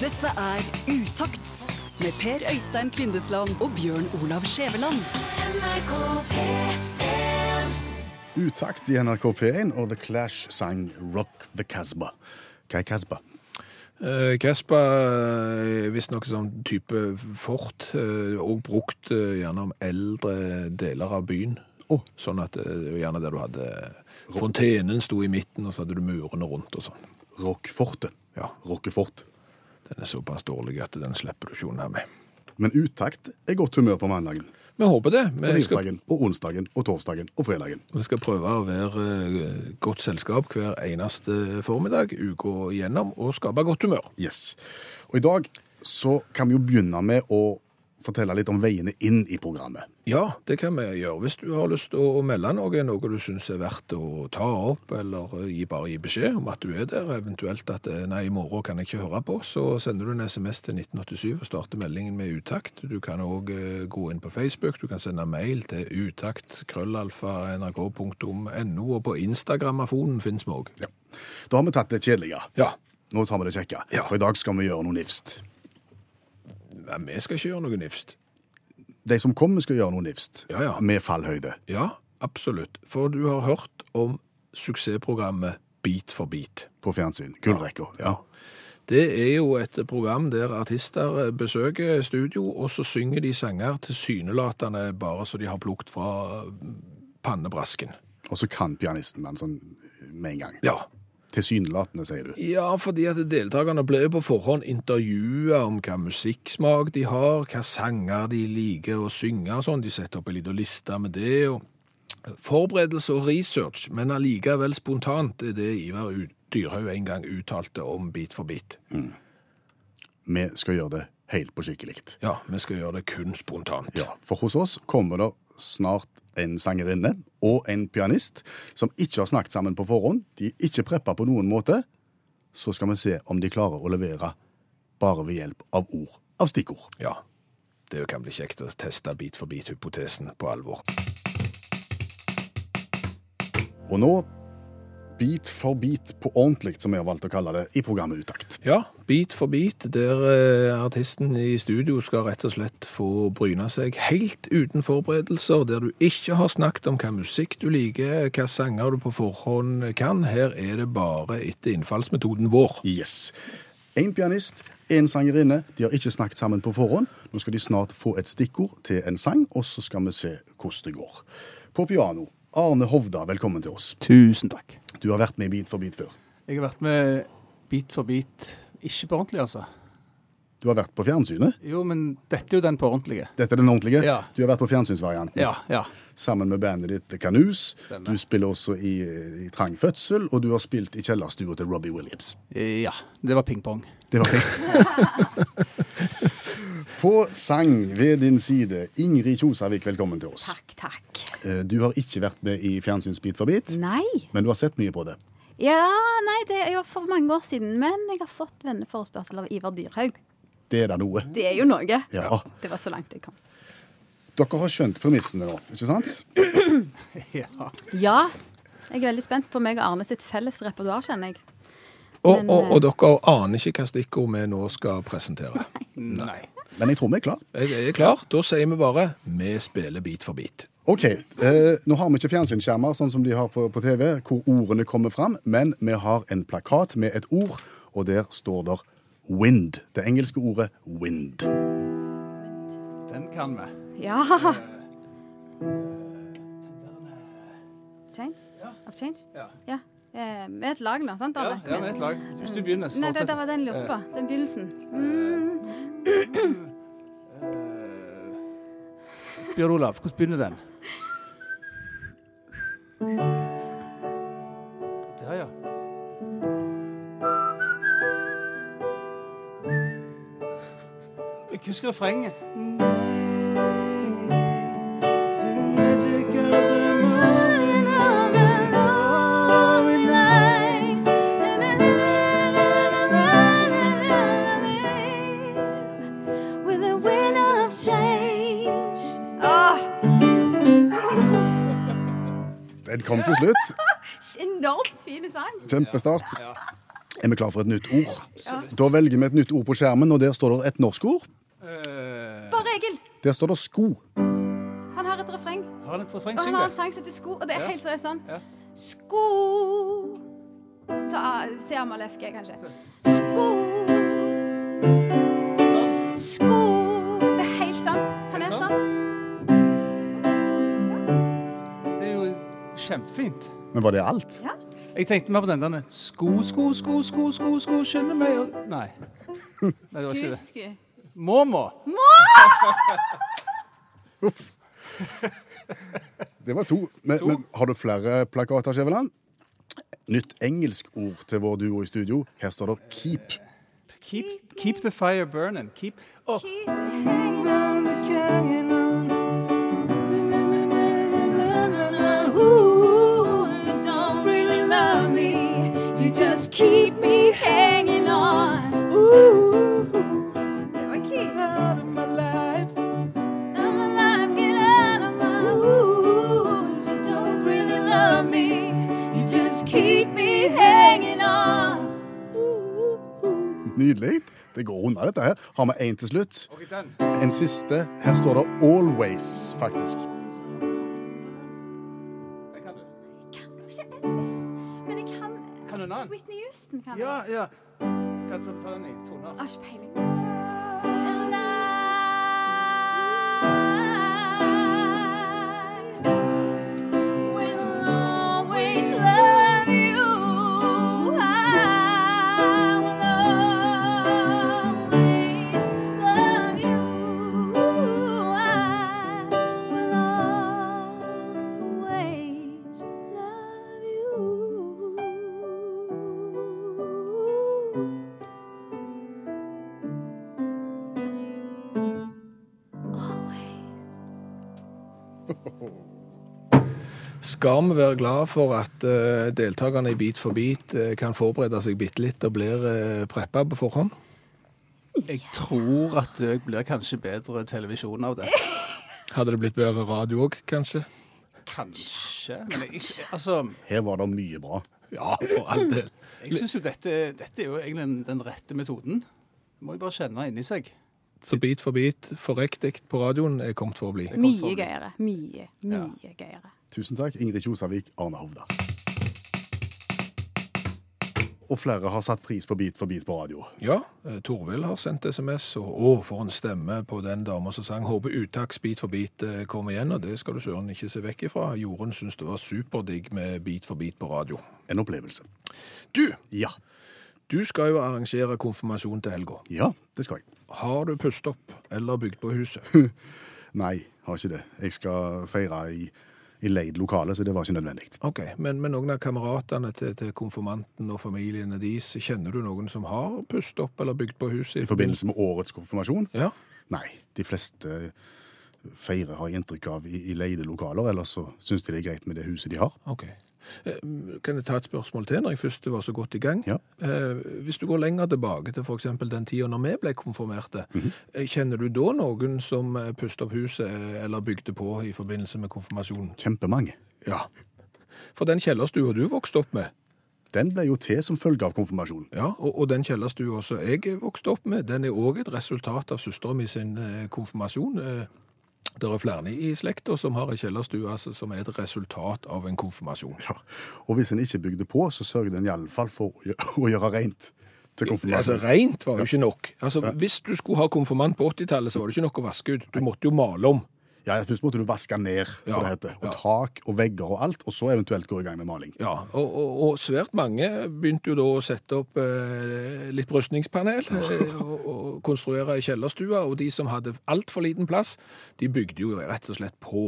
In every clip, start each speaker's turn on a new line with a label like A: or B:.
A: Dette er Utakt med Per Øystein Kvindesland og Bjørn Olav Skjæveland.
B: Utakt i NRK P1, og The Clash sang Rock the Casbah. Hva er Casbah?
C: Eh, Caspa er visstnok sånn type fort, eh, og brukt eh, gjerne om eldre deler av byen.
B: Å.
C: Sånn at eh, gjerne der du hadde eh, Fontenen sto i midten, og så hadde du murene rundt og sånn.
B: Rockfortet.
C: Ja.
B: Rockefort.
C: Den er såpass dårlig at den slipper du ikke unna med.
B: Men utakt er godt humør på mandagen,
C: Vi håper det.
B: og
C: Vi skal,
B: tirsdagen, og onsdagen, og torsdagen og fredagen.
C: vi skal prøve å være eh, godt selskap hver eneste formiddag, uka igjennom, og skape godt humør.
B: Yes. Og i dag så kan vi jo begynne med å fortelle litt om veiene inn i programmet.
C: Ja, det kan vi gjøre. Hvis du har lyst til å melde noe, noe du syns er verdt å ta opp, eller gi, bare gi beskjed om at du er der, eventuelt at eh, nei, i morgen kan jeg ikke høre på, så sender du en SMS til 1987 og starter meldingen med utakt. Du kan òg gå inn på Facebook, du kan sende mail til utakt.krøllalfa.nrk.no, og på Instagram-afonen fins vi òg.
B: Ja. Da har vi tatt det kjedelige.
C: Ja.
B: Nå tar vi det kjekke.
C: Ja.
B: For i dag skal vi gjøre noe nifst.
C: Men vi skal ikke gjøre noe nifst.
B: De som kommer, skal gjøre noe nifst.
C: Ja, ja.
B: Med fallhøyde.
C: Ja, absolutt. For du har hørt om suksessprogrammet Beat for beat.
B: på fjernsyn. Gullrekka. Ja.
C: Det er jo et program der artister eh, besøker studio, og så synger de sanger tilsynelatende bare så de har plukt fra eh, pannebrasken.
B: Og så kan pianisten den sånn med en gang.
C: Ja.
B: Tilsynelatende, sier du.
C: ja, fordi at deltakerne ble på forhånd intervjua om hva musikksmak de har, hva sanger de liker å synge og sånn. De setter opp en liten liste med det. og Forberedelse og research, men allikevel spontant, er det Ivar U- Dyrhaug en gang uttalte om Bit for bit.
B: Vi skal gjøre det helt på skikkelig.
C: Ja, vi skal gjøre det kun spontant.
B: Ja, for hos oss kommer det snart en sangerinne og en pianist som ikke har snakket sammen på forhånd. De er ikke preppa på noen måte. Så skal vi se om de klarer å levere bare ved hjelp av ord. Av stikkord.
C: Ja. Det kan bli kjekt å teste bit for bit-hypotesen på alvor.
B: Og nå Bit for bit på ordentlig, som vi har valgt å kalle det i programmet Utakt.
C: Ja, bit for bit, der eh, artisten i studio skal rett og slett få bryne seg helt uten forberedelser, der du ikke har snakket om hva musikk du liker, hva sanger du på forhånd kan. Her er det bare etter innfallsmetoden vår.
B: Yes. En pianist, en sangerinne. De har ikke snakket sammen på forhånd. Nå skal de snart få et stikkord til en sang, og så skal vi se hvordan det går. På piano, Arne Hovda, velkommen til oss.
D: Tusen takk.
B: Du har vært med i Beat for beat før.
D: Jeg har vært med bit for bit. Ikke på ordentlig, altså.
B: Du har vært på fjernsynet.
D: Jo, men dette er jo den på ordentlige.
B: Dette er den ordentlige.
D: Ja.
B: Du har vært på fjernsynsvarianten
D: Ja, ja.
B: sammen med bandet ditt The Canoes.
D: Stemmer.
B: Du spiller også i, i Trang fødsel, og du har spilt i kjellerstua til Robbie Williams.
D: Ja, det var ping-pong.
B: Det var fint. På sang ved din side, Ingrid Kjosavik, velkommen til oss.
E: Takk, takk.
B: Eh, Du har ikke vært med i fjernsyns bit for bit,
E: Nei.
B: men du har sett mye på det.
E: Ja, nei, det er jo for mange år siden. Men jeg har fått venneforespørsel av Ivar Dyrhaug.
B: Det er da noe.
E: Det er jo noe.
B: Ja.
E: Det var så langt jeg kom.
B: Dere har skjønt premissene nå, ikke sant?
D: Ja.
E: Ja. Jeg er veldig spent på meg og Arne sitt felles repertoar, kjenner jeg.
C: Og,
E: Men,
C: og,
E: eh,
C: og dere aner ikke hva stikkord vi nå skal presentere.
D: Nei.
B: Men jeg tror vi er klar.
C: Jeg er klar, da sier vi bare vi spiller bit for bit.
B: OK. Eh, nå har vi ikke fjernsynsskjermer sånn som de har på, på TV, hvor ordene kommer fram, men vi har en plakat med et ord, og der står der 'wind'. Det engelske ordet 'wind'.
D: Den kan vi.
E: Ja. Change? Of change?
D: Ja.
E: Ja. Eh, Med et lag nå, sant,
D: Ja,
E: Arne?
D: ja, med et lag. Eh. Hvis du begynner, så
E: Nei, det, det
D: fortsetter
E: var den jeg lurte på. Den begynnelsen. Mm.
D: Bjørn Olav, hvordan begynner den? Der, ja. Jeg husker refrenget.
E: With a wind of change.
B: Den kom til slutt.
E: Enormt fin sang.
B: Kjempestart. Er vi klar for et nytt ord? Da velger vi et nytt ord på skjermen, og der står det et norsk ord.
D: Eh.
E: Bare Egil!
B: Der står det sko.
E: Han har et refreng.
D: Har han et refreng?
E: Og han
D: Syng
E: har
D: det.
E: en sang som heter Sko, og det er
D: Ja.
E: helt seriøst sånn.
D: Ja.
E: Sko Ta Se Amal FG, kanskje. Sko
D: Sånn.
E: Sko Det er helt sant. Han er
D: Er det
E: sånn.
D: Det er jo kjempefint.
B: Men var det alt?
E: Ja.
D: Jeg tenkte mer på den der sko, sko, sko, sko, sko, sko, skjønner meg og Nei. Nei, det var ikke det.
E: Sku, sku.
D: Måmå.
B: Det var to. Men, men har du flere plakater, Skjæveland? Nytt engelsk ord til vår duo i studio. Her står det keep.
D: Keep, keep the fire burning. Keep oh. Å,
E: Det var key.
B: Nydelig. Det går unna, dette her. Har vi én til slutt?
D: Ok, den.
B: En siste. Her står det always, faktisk.
D: Den kan du.
E: Jeg kan jo ikke Elvis, men jeg kan
D: Kan du en annen?
E: Whitney Houston. kan
D: Ja,
E: jeg.
D: ja. Kan du ta den i toner?
E: Jeg har ikke peiling.
C: Skal vi være glad for at eh, deltakerne i Beat for beat eh, kan forberede seg bitte litt og blir uh, preppa på forhånd?
D: Jeg tror at det blir kanskje bedre televisjon av det.
C: Hadde det blitt bedre radio òg, kanskje?
D: Kanskje. Men jeg, altså,
B: Her var det mye bra.
C: Ja, for all del.
D: jeg syns jo dette, dette er jo egentlig den- den rette metoden. Må jo bare kjenne inni seg.
C: Så Beat for beat for riktig på radioen er kommet for å bli.
E: Mye gøyere. Mye, mye gøyere.
B: Tusen takk, Ingrid Kjosavik, Arne Hovda. Og flere har satt pris på Beat for beat på radio.
C: Ja, eh, Torvild har sendt SMS, og å, for en stemme på den dama som sang 'Håper Utaks Beat for beat' eh, kommer igjen, og det skal du søren ikke se vekk ifra. Jorunn syns det var superdigg med Beat for beat på radio.
B: En opplevelse.
C: Du,
B: Ja.
C: du skal jo arrangere konfirmasjon til helga.
B: Ja, det skal jeg.
C: Har du pusset opp eller bygd på huset?
B: Nei, har ikke det. Jeg skal feire i, i leid lokale, så det var ikke nødvendig.
C: Ok, men, men noen av kameratene til, til konfirmanten og familiene deres, kjenner du noen som har pustet opp eller bygd på huset?
B: I forbindelse med årets konfirmasjon?
C: Ja,
B: Nei. De fleste feirer, har jeg inntrykk av, i, i leide lokaler. Ellers så syns de det er greit med det huset de har.
C: ok. Eh, Kan jeg ta et spørsmål til når jeg først var så godt i gang?
B: Ja.
C: Eh, Hvis du går lenger tilbake til for eksempel den tiden når vi ble konfirmerte,
B: Mhm.
C: eh, kjenner du da noen som eh, pustet opp huset eh, eller bygde på i forbindelse med konfirmasjonen?
B: Kjempemange.
C: Ja. For den kjellerstua du vokste opp med,
B: Den ble jo til som følge av konfirmasjonen.
C: Ja, og, og den kjellerstua som jeg vokste opp med, den er òg et resultat av søstera mi sin eh, konfirmasjon. Eh, det er flere i slekta som har ei kjellerstue altså, som er et resultat av en konfirmasjon.
B: Og hvis en ikke bygde på, så sørget en iallfall for å gjøre, å gjøre rent til
C: Altså,
B: konfirmasjonen.
C: Rent var jo ikke nok. Altså, Hvis du skulle ha konfirmant på 80-tallet, så var det ikke nok å vaske ut. Du måtte jo male om.
B: Ja, Først måtte du vaske ned, som
C: Ja,
B: det heter. Og
C: ja.
B: tak og vegger og alt. Og så eventuelt gå i gang med maling.
C: Ja, og, og, og svært mange begynte jo da å sette opp eh, litt brystningspanel eh, og, og konstruere ei kjellerstue, og de som hadde altfor liten plass, de bygde jo rett og slett på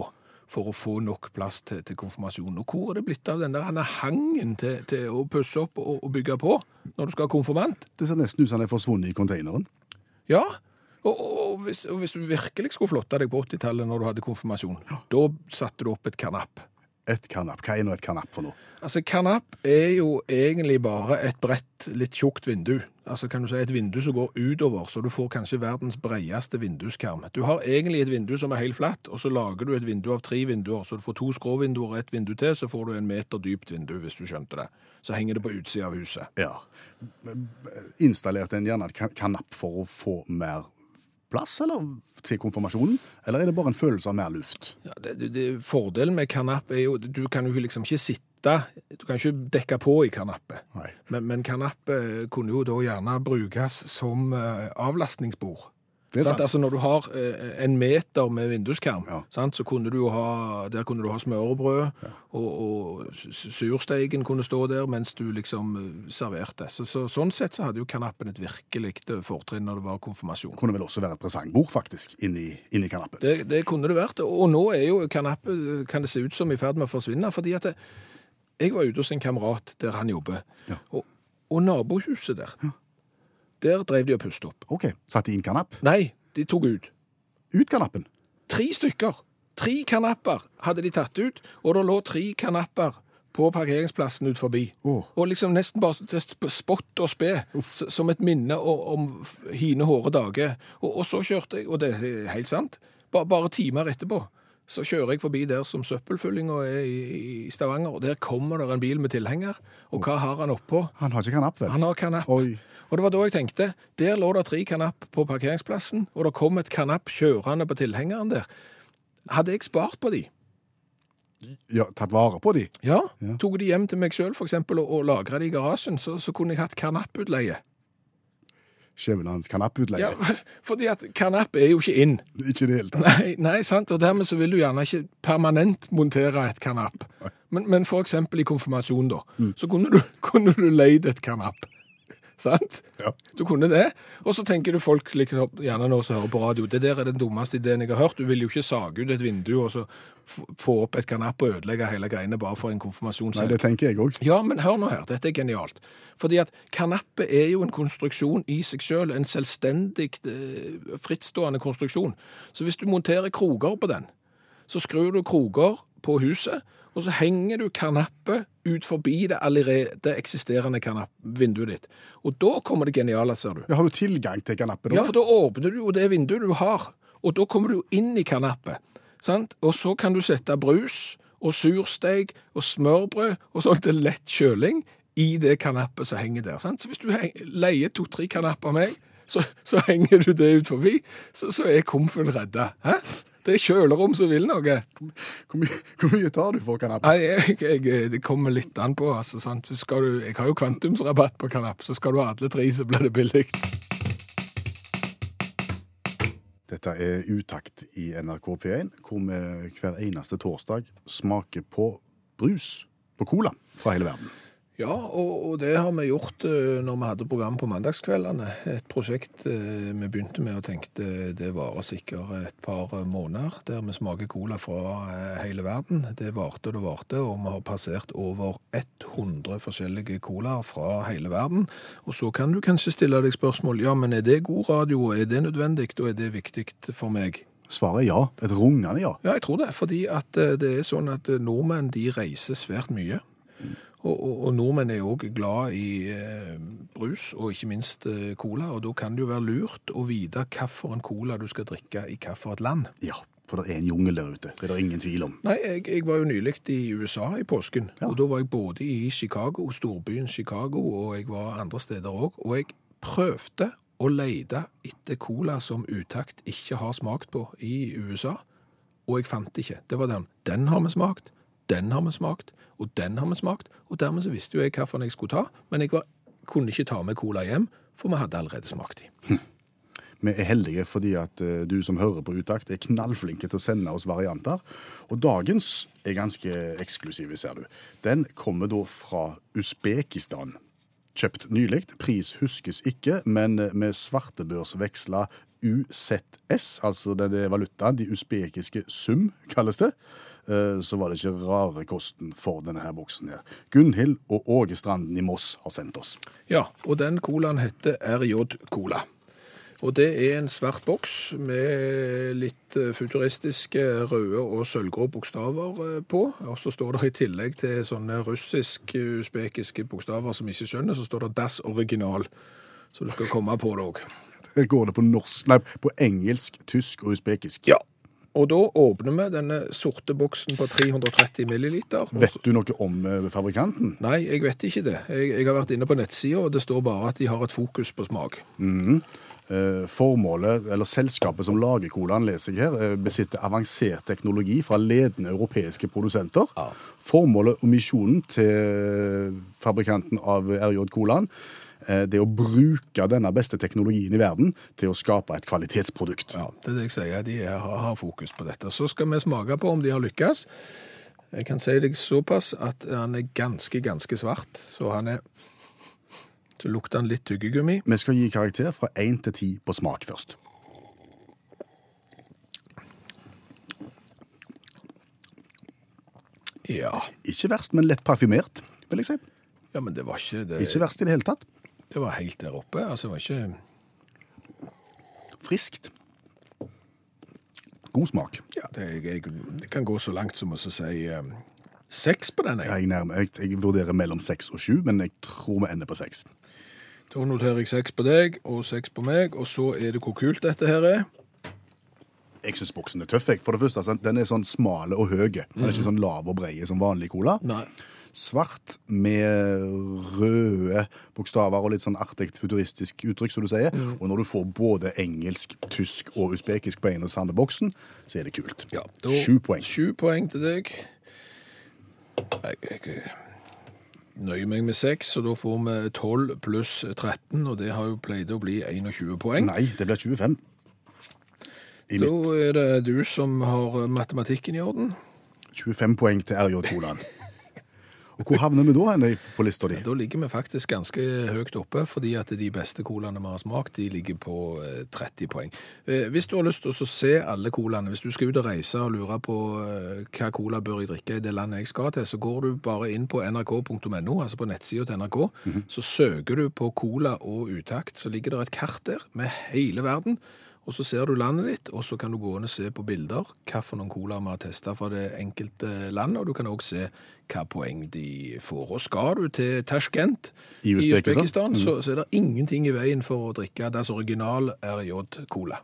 C: for å få nok plass til, til konfirmasjon. Og hvor er det blitt av den der denne hangen til, til å pusse opp og, og bygge på når du skal ha konfirmant?
B: Det ser nesten ut som den er forsvunnet i konteineren.
C: Ja, og, og, og, hvis, og hvis du virkelig skulle flotte deg på 80-tallet når du hadde konfirmasjon, da satte du opp et karnapp.
B: Et karnapp. Hva er nå et karnapp for noe?
C: Altså, Karnapp er jo egentlig bare et bredt, litt tjukt vindu. Altså, kan du si Et vindu som går utover, så du får kanskje verdens bredeste vinduskarm. Du har egentlig et vindu som er helt flatt, og så lager du et vindu av tre vinduer. Så du får to skråvinduer og et vindu til, så får du en meter dypt vindu, hvis du skjønte det. Så henger det på utsida av huset.
B: Ja. Installerte en gjerne et ka- karnapp for å få mer plass, eller til konfirmasjonen? Eller er det bare en følelse av mer luft?
C: Ja, det, det, det, fordelen med karnapp er jo Du kan jo liksom ikke sitte Du kan ikke dekke på i karnappet.
B: Nei.
C: Men, men karnappet eh, kunne jo da gjerne brukes som eh, avlastningsbord.
B: Det er
C: sant?
B: sant.
C: Altså Når du har eh, en meter med vinduskarm,
B: Ja.
C: sant? så kunne du jo ha Der kunne du ha smørbrød, og, og s- sursteigen kunne stå der mens du liksom eh, serverte. Så, så, sånn sett så hadde jo karnappen et virkelig eh, fortrinn når det var konfirmasjon.
B: Kunne vel også være et presangbord, faktisk, inni, inni karnappet.
C: Det, det kunne det vært. Og nå er jo kanappet, kan det se ut som i ferd med å forsvinne. fordi at det, jeg var ute hos en kamerat der han jobber,
B: Ja.
C: og, og nabohuset der, der drev de og pustet opp.
B: OK. Satt de inn karnapp?
C: Nei, de tok ut.
B: Ut karnappen!
C: Tre stykker. Tre kanapper hadde de tatt ut, og det lå tre kanapper på parkeringsplassen ut forbi.
B: Åh.
C: Og liksom nesten bare til sp- spott og spe, s- som et minne o- om f- hine hårde dager. Og, og så kjørte jeg, og det er helt sant, bare, bare timer etterpå, så kjører jeg forbi der som søppelfyllinga er i, i Stavanger, og der kommer der en bil med tilhenger, og hva har han oppå?
B: Han har ikke karnapp, vel?
C: Han har kanapp.
B: Oi.
C: Og det var da jeg tenkte, der lå det tre kanapp på parkeringsplassen, og det kom et kanapp kjørende på tilhengeren der. Hadde jeg spart på de?
B: Ja, tatt vare på de?
C: Ja. Tok de hjem til meg sjøl f.eks. og, og lagra de i garasjen, så, så kunne jeg hatt kanapputleie.
B: Skjevene hans karnapputleie?
C: Ja, fordi at kanapp er jo ikke inn.
B: Ikke i det hele tatt.
C: Nei, nei, sant, og dermed så vil du gjerne ikke permanent montere et kanapp. Men, men for eksempel i konfirmasjon da, så kunne du, kunne du leid et kanapp. Sant?
B: Ja.
C: Du kunne det, og så tenker du folk liksom, gjerne nå som hører på radio, det der er den dummeste ideen jeg har hørt, du vil jo ikke sage ut et vindu og så f- få opp et kanapp og ødelegge hele greiene bare for en
B: Nei,
C: konfirmasjonshelg.
B: det tenker jeg òg.
C: Ja, men hør nå her, dette er genialt. Fordi at kanappet er jo en konstruksjon i seg selv, en selvstendig, eh, frittstående konstruksjon. Så hvis du monterer kroger på den, så skrur du kroger på huset, og så henger du kanappet ut forbi det allerede eksisterende kanapp- vinduet ditt. Og da kommer det geniale, ser du.
B: Ja, har du tilgang til karnappet da?
C: Ja, for da åpner du jo det vinduet du har, og da kommer du inn i kanappet, sant? Og så kan du sette brus og sursteig og smørbrød og sånt til lett kjøling i det kanappet som henger der, sant? Så hvis du heng- leier to-tre kanapper av meg, så, så henger du det ut forbi, så, så er komfen redda, hæ? Det er kjølerom som vil noe.
B: Hvor, mye, hvor mye tar du for karnapp?
C: Nei, jeg, jeg, det kommer litt an på, altså, sant? Så Skal du, jeg har jo kvantumsrabatt på kanapp, så skal du ha alle tre, så blir det billig.
B: Dette er Utakt i NRK P1, hvor vi hver eneste torsdag smaker på brus, på cola, fra hele verden.
C: Ja, og, og det har vi gjort eh, når vi hadde program på mandagskveldene. Et prosjekt eh, vi begynte med og tenkte det varer sikkert et par eh, måneder, der vi smaker cola fra eh, hele verden. Det varte og det varte, og vi har passert over 100 forskjellige colaer fra hele verden. Og så kan du kanskje stille deg spørsmål, ja, men er det god radio, er det nødvendig, og er det viktig for meg?
B: Svaret er ja. Et rungende ja.
C: Ja, jeg tror det. Fordi at eh, det er sånn at eh, nordmenn de reiser svært mye. Og, og, og nordmenn er òg glad i eh, brus, og ikke minst eh, cola. Og da kan det jo være lurt å vite hvilken cola du skal drikke i hvilket land.
B: Ja, for det er en jungel der ute. Det er det ingen tvil om.
C: Nei, jeg, jeg var jo nylig i USA i påsken, og da var jeg både i Chicago, storbyen Chicago, og jeg var andre steder òg. Og jeg prøvde å lete etter cola som utakt ikke har smakt på i USA, og jeg fant det ikke. Det var den. Den har vi smakt, den har vi smakt, og den har vi smakt. Og dermed så visste jo jeg hvilken jeg skulle ta, men jeg var, kunne ikke ta med cola hjem, for vi hadde allerede smakt de.
B: Vi er heldige fordi at eh, du som hører på Utakt, er knallflinke til å sende oss varianter. Og dagens er ganske eksklusiv, ser du. Den kommer da fra Usbekistan. Kjøpt nylig. Pris huskes ikke, men eh, med svartebørsveksla UZS, altså den er valutaen, de usbekiske sum, kalles det, eh, så var det ikke rare kosten for denne her boksen her. Gunhild og Åge Stranden i Moss har sendt oss.
C: Ja, og den colaen heter RJ Cola. Og det er en svart boks med litt eh, futuristiske røde og sølvgrå bokstaver eh, på. Og så står det i tillegg til sånne russisk-usbekiske bokstaver som ikke skjønner, så står det Das Original. Så du skal komme på det òg.
B: Går det på norsk, nei, på engelsk, tysk og usbekisk?
C: Ja. Og da åpner vi denne sorte boksen på 330 milliliter. og
B: Vet du noe om eh, fabrikanten?
C: Nei, jeg vet ikke det. Jeg, jeg har vært inne på nettsida, og det står bare at de har et fokus på smak.
B: Eh, Formålet, eller selskapet som lager colaen, leser jeg her, eh, besitter avansert teknologi fra ledende europeiske produsenter. Formålet og misjonen til fabrikanten av RJ Colaen eh, det er å bruke denne beste teknologien i verden til å skape et kvalitetsprodukt.
C: Ja, det er det jeg sier. De er, har, har fokus på dette. Så skal vi smake på om de har lykkes. Jeg kan si deg såpass at han er ganske, ganske svart. Så han er Så lukter han litt tyggegummi.
B: Vi skal gi karakter fra 1 til 10 på smak først.
C: Ja.
B: Ikke verst, men lett parfymert, vil jeg si.
C: ja, men det var ikke det,
B: Ikke verst i det hele tatt.
C: det var helt der oppe. Altså, det var ikke
B: Friskt. God smak.
C: Ja, det, jeg, jeg, det kan gå så langt som å så si eh, seks på den. jeg.
B: Jeg, nærmer, jeg, jeg vurderer mellom 6 og 7, men jeg tror vi ender på 6.
C: Da noterer jeg seks på deg og seks på meg, og så er det hvor kult dette her er.
B: Jeg syns boksen er tøff. Jeg. For det første, altså, Den er sånn smal og høy. Den er ikke sånn lav og brei som vanlig cola.
C: Nei.
B: Svart med røde bokstaver og litt sånn artig futuristisk uttrykk, som du sier.
C: Mm.
B: Og når du får både engelsk, tysk og usbekisk på en og samme boksen, så er det kult.
C: Ja, da-
B: Sju poeng.
C: Sju poeng til deg. Jeg, jeg, jeg nøyer meg med seks, og da får vi 12 pluss 13, og det har jo pleid å bli 21 poeng.
B: Nei, det blir 25. i
C: Da er det du som har matematikken i orden.
B: 25 poeng til RJ Colaen. Og hvor havner vi da hen på lista di?
C: Da ligger vi faktisk ganske høyt oppe, fordi at de beste colaene vi har smakt, de ligger på eh, 30 poeng. Eh, Hvis du har lyst til å se alle colaene, hvis du skal ut og reise og lure på eh, hva cola bør jeg drikke i det landet jeg skal til, så går du bare inn på nrk.no, altså på nettsida til NRK, så søker du på cola og utakt, så ligger det et kart der med hele verden. Og så ser du landet ditt, og så kan du gå inn og se på bilder hva for noen cola vi har testa fra det enkelte land, og du kan òg se hva poeng de får. Og skal du til Tashkent
B: I Usbekistan? Mm.
C: så, så er det ingenting i veien for å drikke deres original RJ Cola.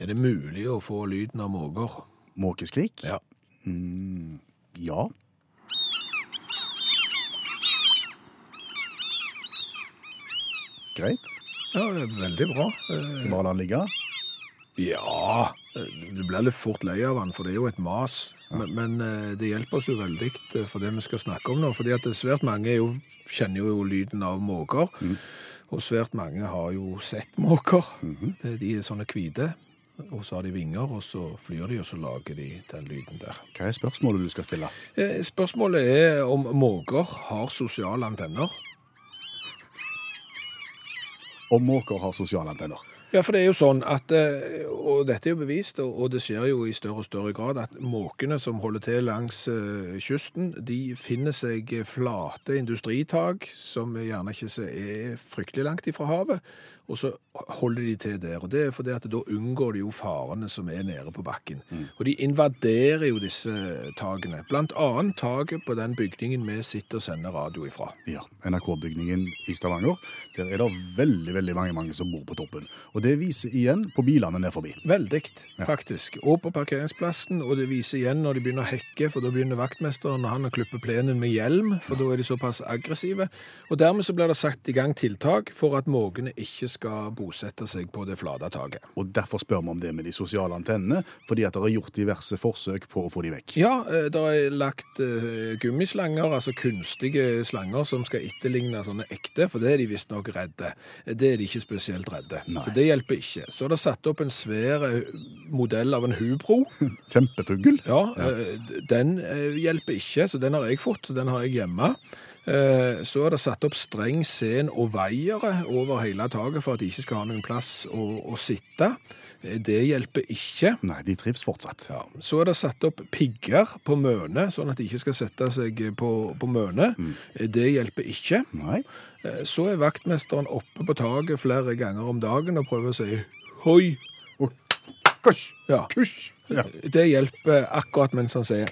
C: Er det mulig å få lyden av måker?
B: Måkeskrik?
C: Ja.
B: Mm, Ja. Greit.
C: ja det er veldig bra. Eh,
B: Så bare la den ligge.
C: Ja Du blir litt fort lei av den, for det er jo et mas. Men, men eh, det hjelper oss jo veldig eh, for det vi skal snakke om nå. fordi at det er svært mange er jo, kjenner jo lyden av måker. Og svært mange har jo sett måker. Det- De er sånne hvite. Og så har de vinger, og så flyr de, og så lager de den lyden der.
B: Hva er spørsmålet du skal stille?
C: Eh, Spørsmålet er om måker har sosiale antenner.
B: Om måker har sosiale antenner.
C: Ja, for det er jo sånn at, eh, og dette er jo bevist, og- og det skjer jo i større og større grad, at måkene som holder til langs eh, kysten, de finner seg flate industritak, som gjerne ikke så er fryktelig langt ifra havet, og så holder de til der. Og det er fordi at da unngår de jo farene som er nede på bakken. Og de invaderer jo disse takene, blant annet taket på den bygningen vi sitter og sender radio ifra.
B: Ja, NRK-bygningen i Stavanger. Der er det veldig veldig mange mange som bor på toppen. Og det viser igjen på bilene ned forbi.
C: Veldig, faktisk. Og på parkeringsplassen, og det viser igjen når de begynner å hekke, for da begynner vaktmesteren og han å klippe plenen med hjelm, for da er de såpass aggressive. Og dermed så blir det satt i gang tiltak for at måkene ikke skal bosette seg på det flate taket.
B: Og Derfor spør vi om det med de sosiale antennene, fordi at dere har gjort diverse forsøk på å få de vekk.
C: Ja, eh, det er lagt eh, gummislanger, altså kunstige slanger som skal etterligne sånne ekte, for det er de visstnok redde. Eh, Det er de ikke spesielt redde, så det hjelper ikke. Så er det satt opp en svær eh, modell av en hubro.
B: Kjempefugl.
C: Ja, eh, d- den eh, hjelper ikke, så den har jeg fått, så den har jeg hjemme. Eh, Så er det satt opp streng scen og veiere over hele taket for at de ikke skal ha noen plass å, å sitte. Eh, Det hjelper ikke.
B: Nei, de trives fortsatt.
C: Ja, så er det satt opp pigger på møne, sånn at de ikke skal sette seg på, på møne. Eh, Det hjelper ikke.
B: Nei.
C: Eh, Så er vaktmesteren oppe på taket flere ganger om dagen og prøver å si hoi.
B: Kusj!
C: Ja.
B: Kusj! Ja.
C: Det hjelper akkurat mens han sier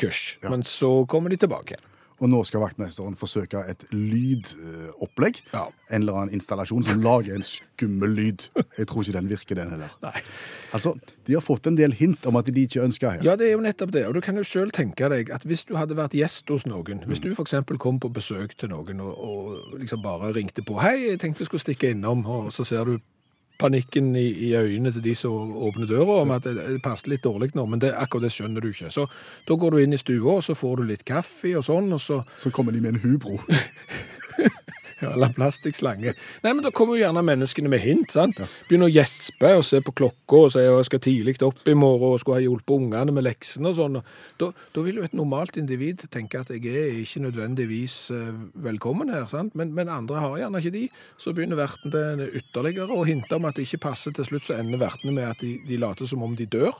C: kusj. Men så kommer de tilbake igjen.
B: Og nå skal vaktmesteren forsøke et lydopplegg.
C: Ja.
B: En eller annen installasjon som lager en skummel lyd. Jeg tror ikke den virker, den heller.
C: Nei.
B: Altså, De har fått en del hint om at de ikke ønsker her.
C: Ja, det er jo nettopp det. Og du kan jo sjøl tenke deg at hvis du hadde vært gjest hos noen, hvis du f.eks. kom på besøk til noen og, og liksom bare ringte på 'Hei, jeg tenkte jeg skulle stikke innom', og så ser du panikken i, i øynene til de som åpner døra om at det, det passer litt dårlig nå, men det, akkurat det skjønner du ikke. Så da går du inn i stua, og så får du litt kaffe og sånn, og så
B: Så kommer de med en hubro.
C: Ja, Eller plastikkslange. Nei, men da kommer jo gjerne menneskene med hint, sant? Begynner å gjespe og se på klokka og si at jeg skal tidlig opp i morgen og skulle ha hjulpet ungene med leksene og sånn. Da, da vil jo et normalt individ tenke at jeg er ikke nødvendigvis eh, velkommen her, sant? Men, men andre har gjerne ikke de. Så begynner verten til ytterligere å hinte om at det ikke passer. Til slutt så ender vertene med at de, de later som om de dør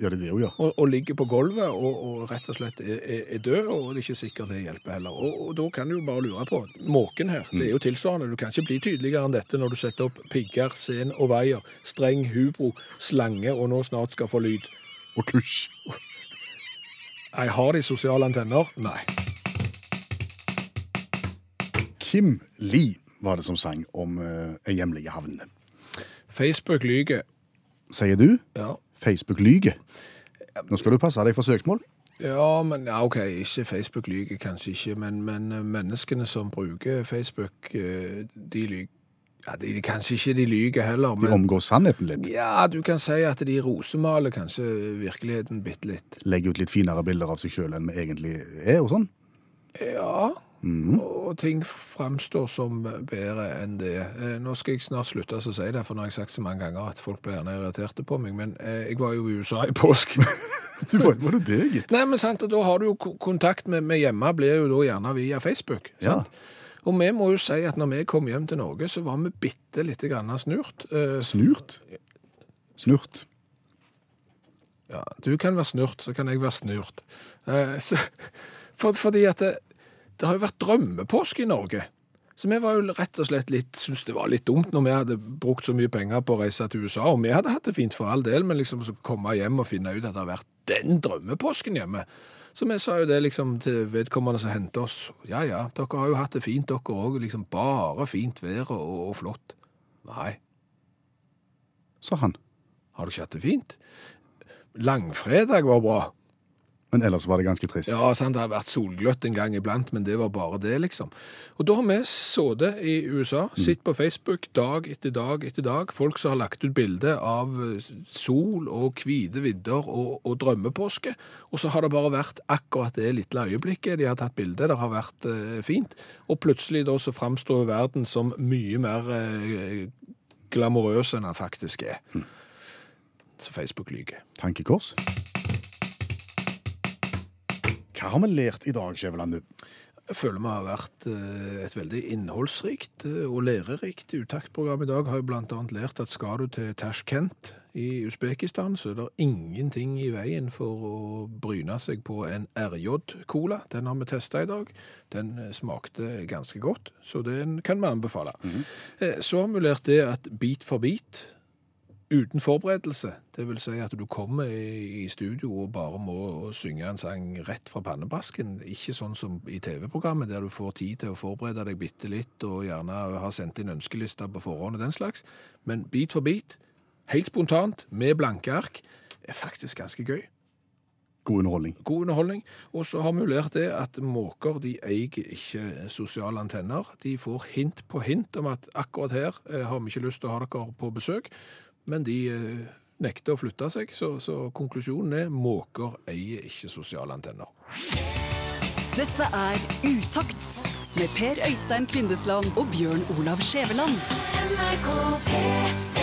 B: Ja, det er det hun gjør.
C: og, og ligger på gulvet og, og rett og slett er, er, er død, og det er ikke sikkert det hjelper heller. Og, og da kan du jo bare lure på Måken her, det er jo tilsvarende. Du kan ikke bli tydeligere enn dette når du setter opp pigger, sen og veier, streng, hubro, slange og nå snart skal få lyd.
B: Og kusj.
C: Nei, har de sosiale antenner? Nei.
B: Kim Lee var det som sang om eh, en hjemlig havn.
C: Facebook lyger.
B: Sier du
C: Ja.
B: Facebook lyger? Nå skal du passe deg for søksmål.
C: Ja, men ja, OK, ikke Facebook lyger kanskje ikke, men, men eh, menneskene som bruker Facebook, eh, de lyger ja, de, Kanskje ikke de lyger heller,
B: De
C: men
B: omgår sannheten litt.
C: Ja, du kan si at de rosemaler kanskje virkeligheten bitte litt.
B: Legger ut litt finere bilder av seg sjøl enn vi egentlig er. og sånn.
C: Ja, og ting framstår som bedre enn det. Eh, Nå skal jeg snart slutte å si det, for nå har jeg sagt så mange ganger at folk blir gjerne irriterte på meg, men eh, jeg var jo i USA i påsken.
B: Du var, var du det, gitt?
C: Nei, men sant, og da har du jo ko- kontakt med, med hjemme, blir jo da gjerne via Facebook.
B: Ja.
C: Sant? Og vi må jo si at når vi kom hjem til Norge, så var vi bitte lite grann snurt. Eh,
B: Snurt? Snurt.
C: Ja, du kan være snurt, så kan jeg være snurt. Eh, så, for, fordi at det, det har jo vært drømmepåske i Norge. Så vi var jo rett og slett litt, syntes det var litt dumt når vi hadde brukt så mye penger på å reise til USA, og vi hadde hatt det fint for all del, men liksom så komme hjem og finne ut at det har vært den drømmepåsken hjemme. Så vi sa jo det liksom til vedkommende som hentet oss. Ja, ja, dere har jo hatt det fint dere også, liksom bare fint vær og, og flott. Nei,
B: sa han.
C: har du ikke hatt det fint? Langfredag var bra.
B: Men ellers var det ganske trist.
C: Ja, sant, det har vært solgløtt en gang iblant, men det var bare det, liksom. Og da har vi sittet i USA, sitt på Facebook dag etter dag etter dag, folk som har lagt ut bilder av eh, sol og hvite vidder og, og drømmepåske, og så har det bare vært akkurat det lille øyeblikket de har tatt bilde, det har vært eh, fint, og plutselig da så framstår verden som mye mer eh, glamorøs enn den faktisk er. Så Facebook lyger.
B: Tankekors. Hva har vi lært i dag, Skjæveland?
C: Jeg føler vi har vært eh, et veldig innholdsrikt eh, og lærerikt uttaktprogram i dag. Har jo blant annet lært at skal du til Tashkent i Usbekistan, så er det ingenting i veien for å bryne seg på en RJ-cola. Den har vi testa i dag. Den eh, smakte ganske godt, så den kan vi anbefale. Eh, Så har vi lært det at bit for bit uten forberedelse. Det vil si at du kommer i i studio og bare må synge en sang rett fra pannebasken. Ikke sånn som i TV-programmet, der du får tid til å forberede deg bitte litt og gjerne har sendt inn ønskelister på forhånd og den slags. Men bit for bit, helt spontant, med blanke ark, er faktisk ganske gøy.
B: God underholdning.
C: God underholdning. Og så har vi jo lært det at måker de eier ikke sosiale antenner. De får hint på hint om at akkurat her eh, har vi ikke lyst til å ha dere på besøk, men de eh, nekter å flytte seg. Så, så konklusjonen er måker eier ikke sosiale antenner.
A: Dette er Utakt med Per Øystein Kvindesland og Bjørn Olav Skjæveland.
F: NRK P1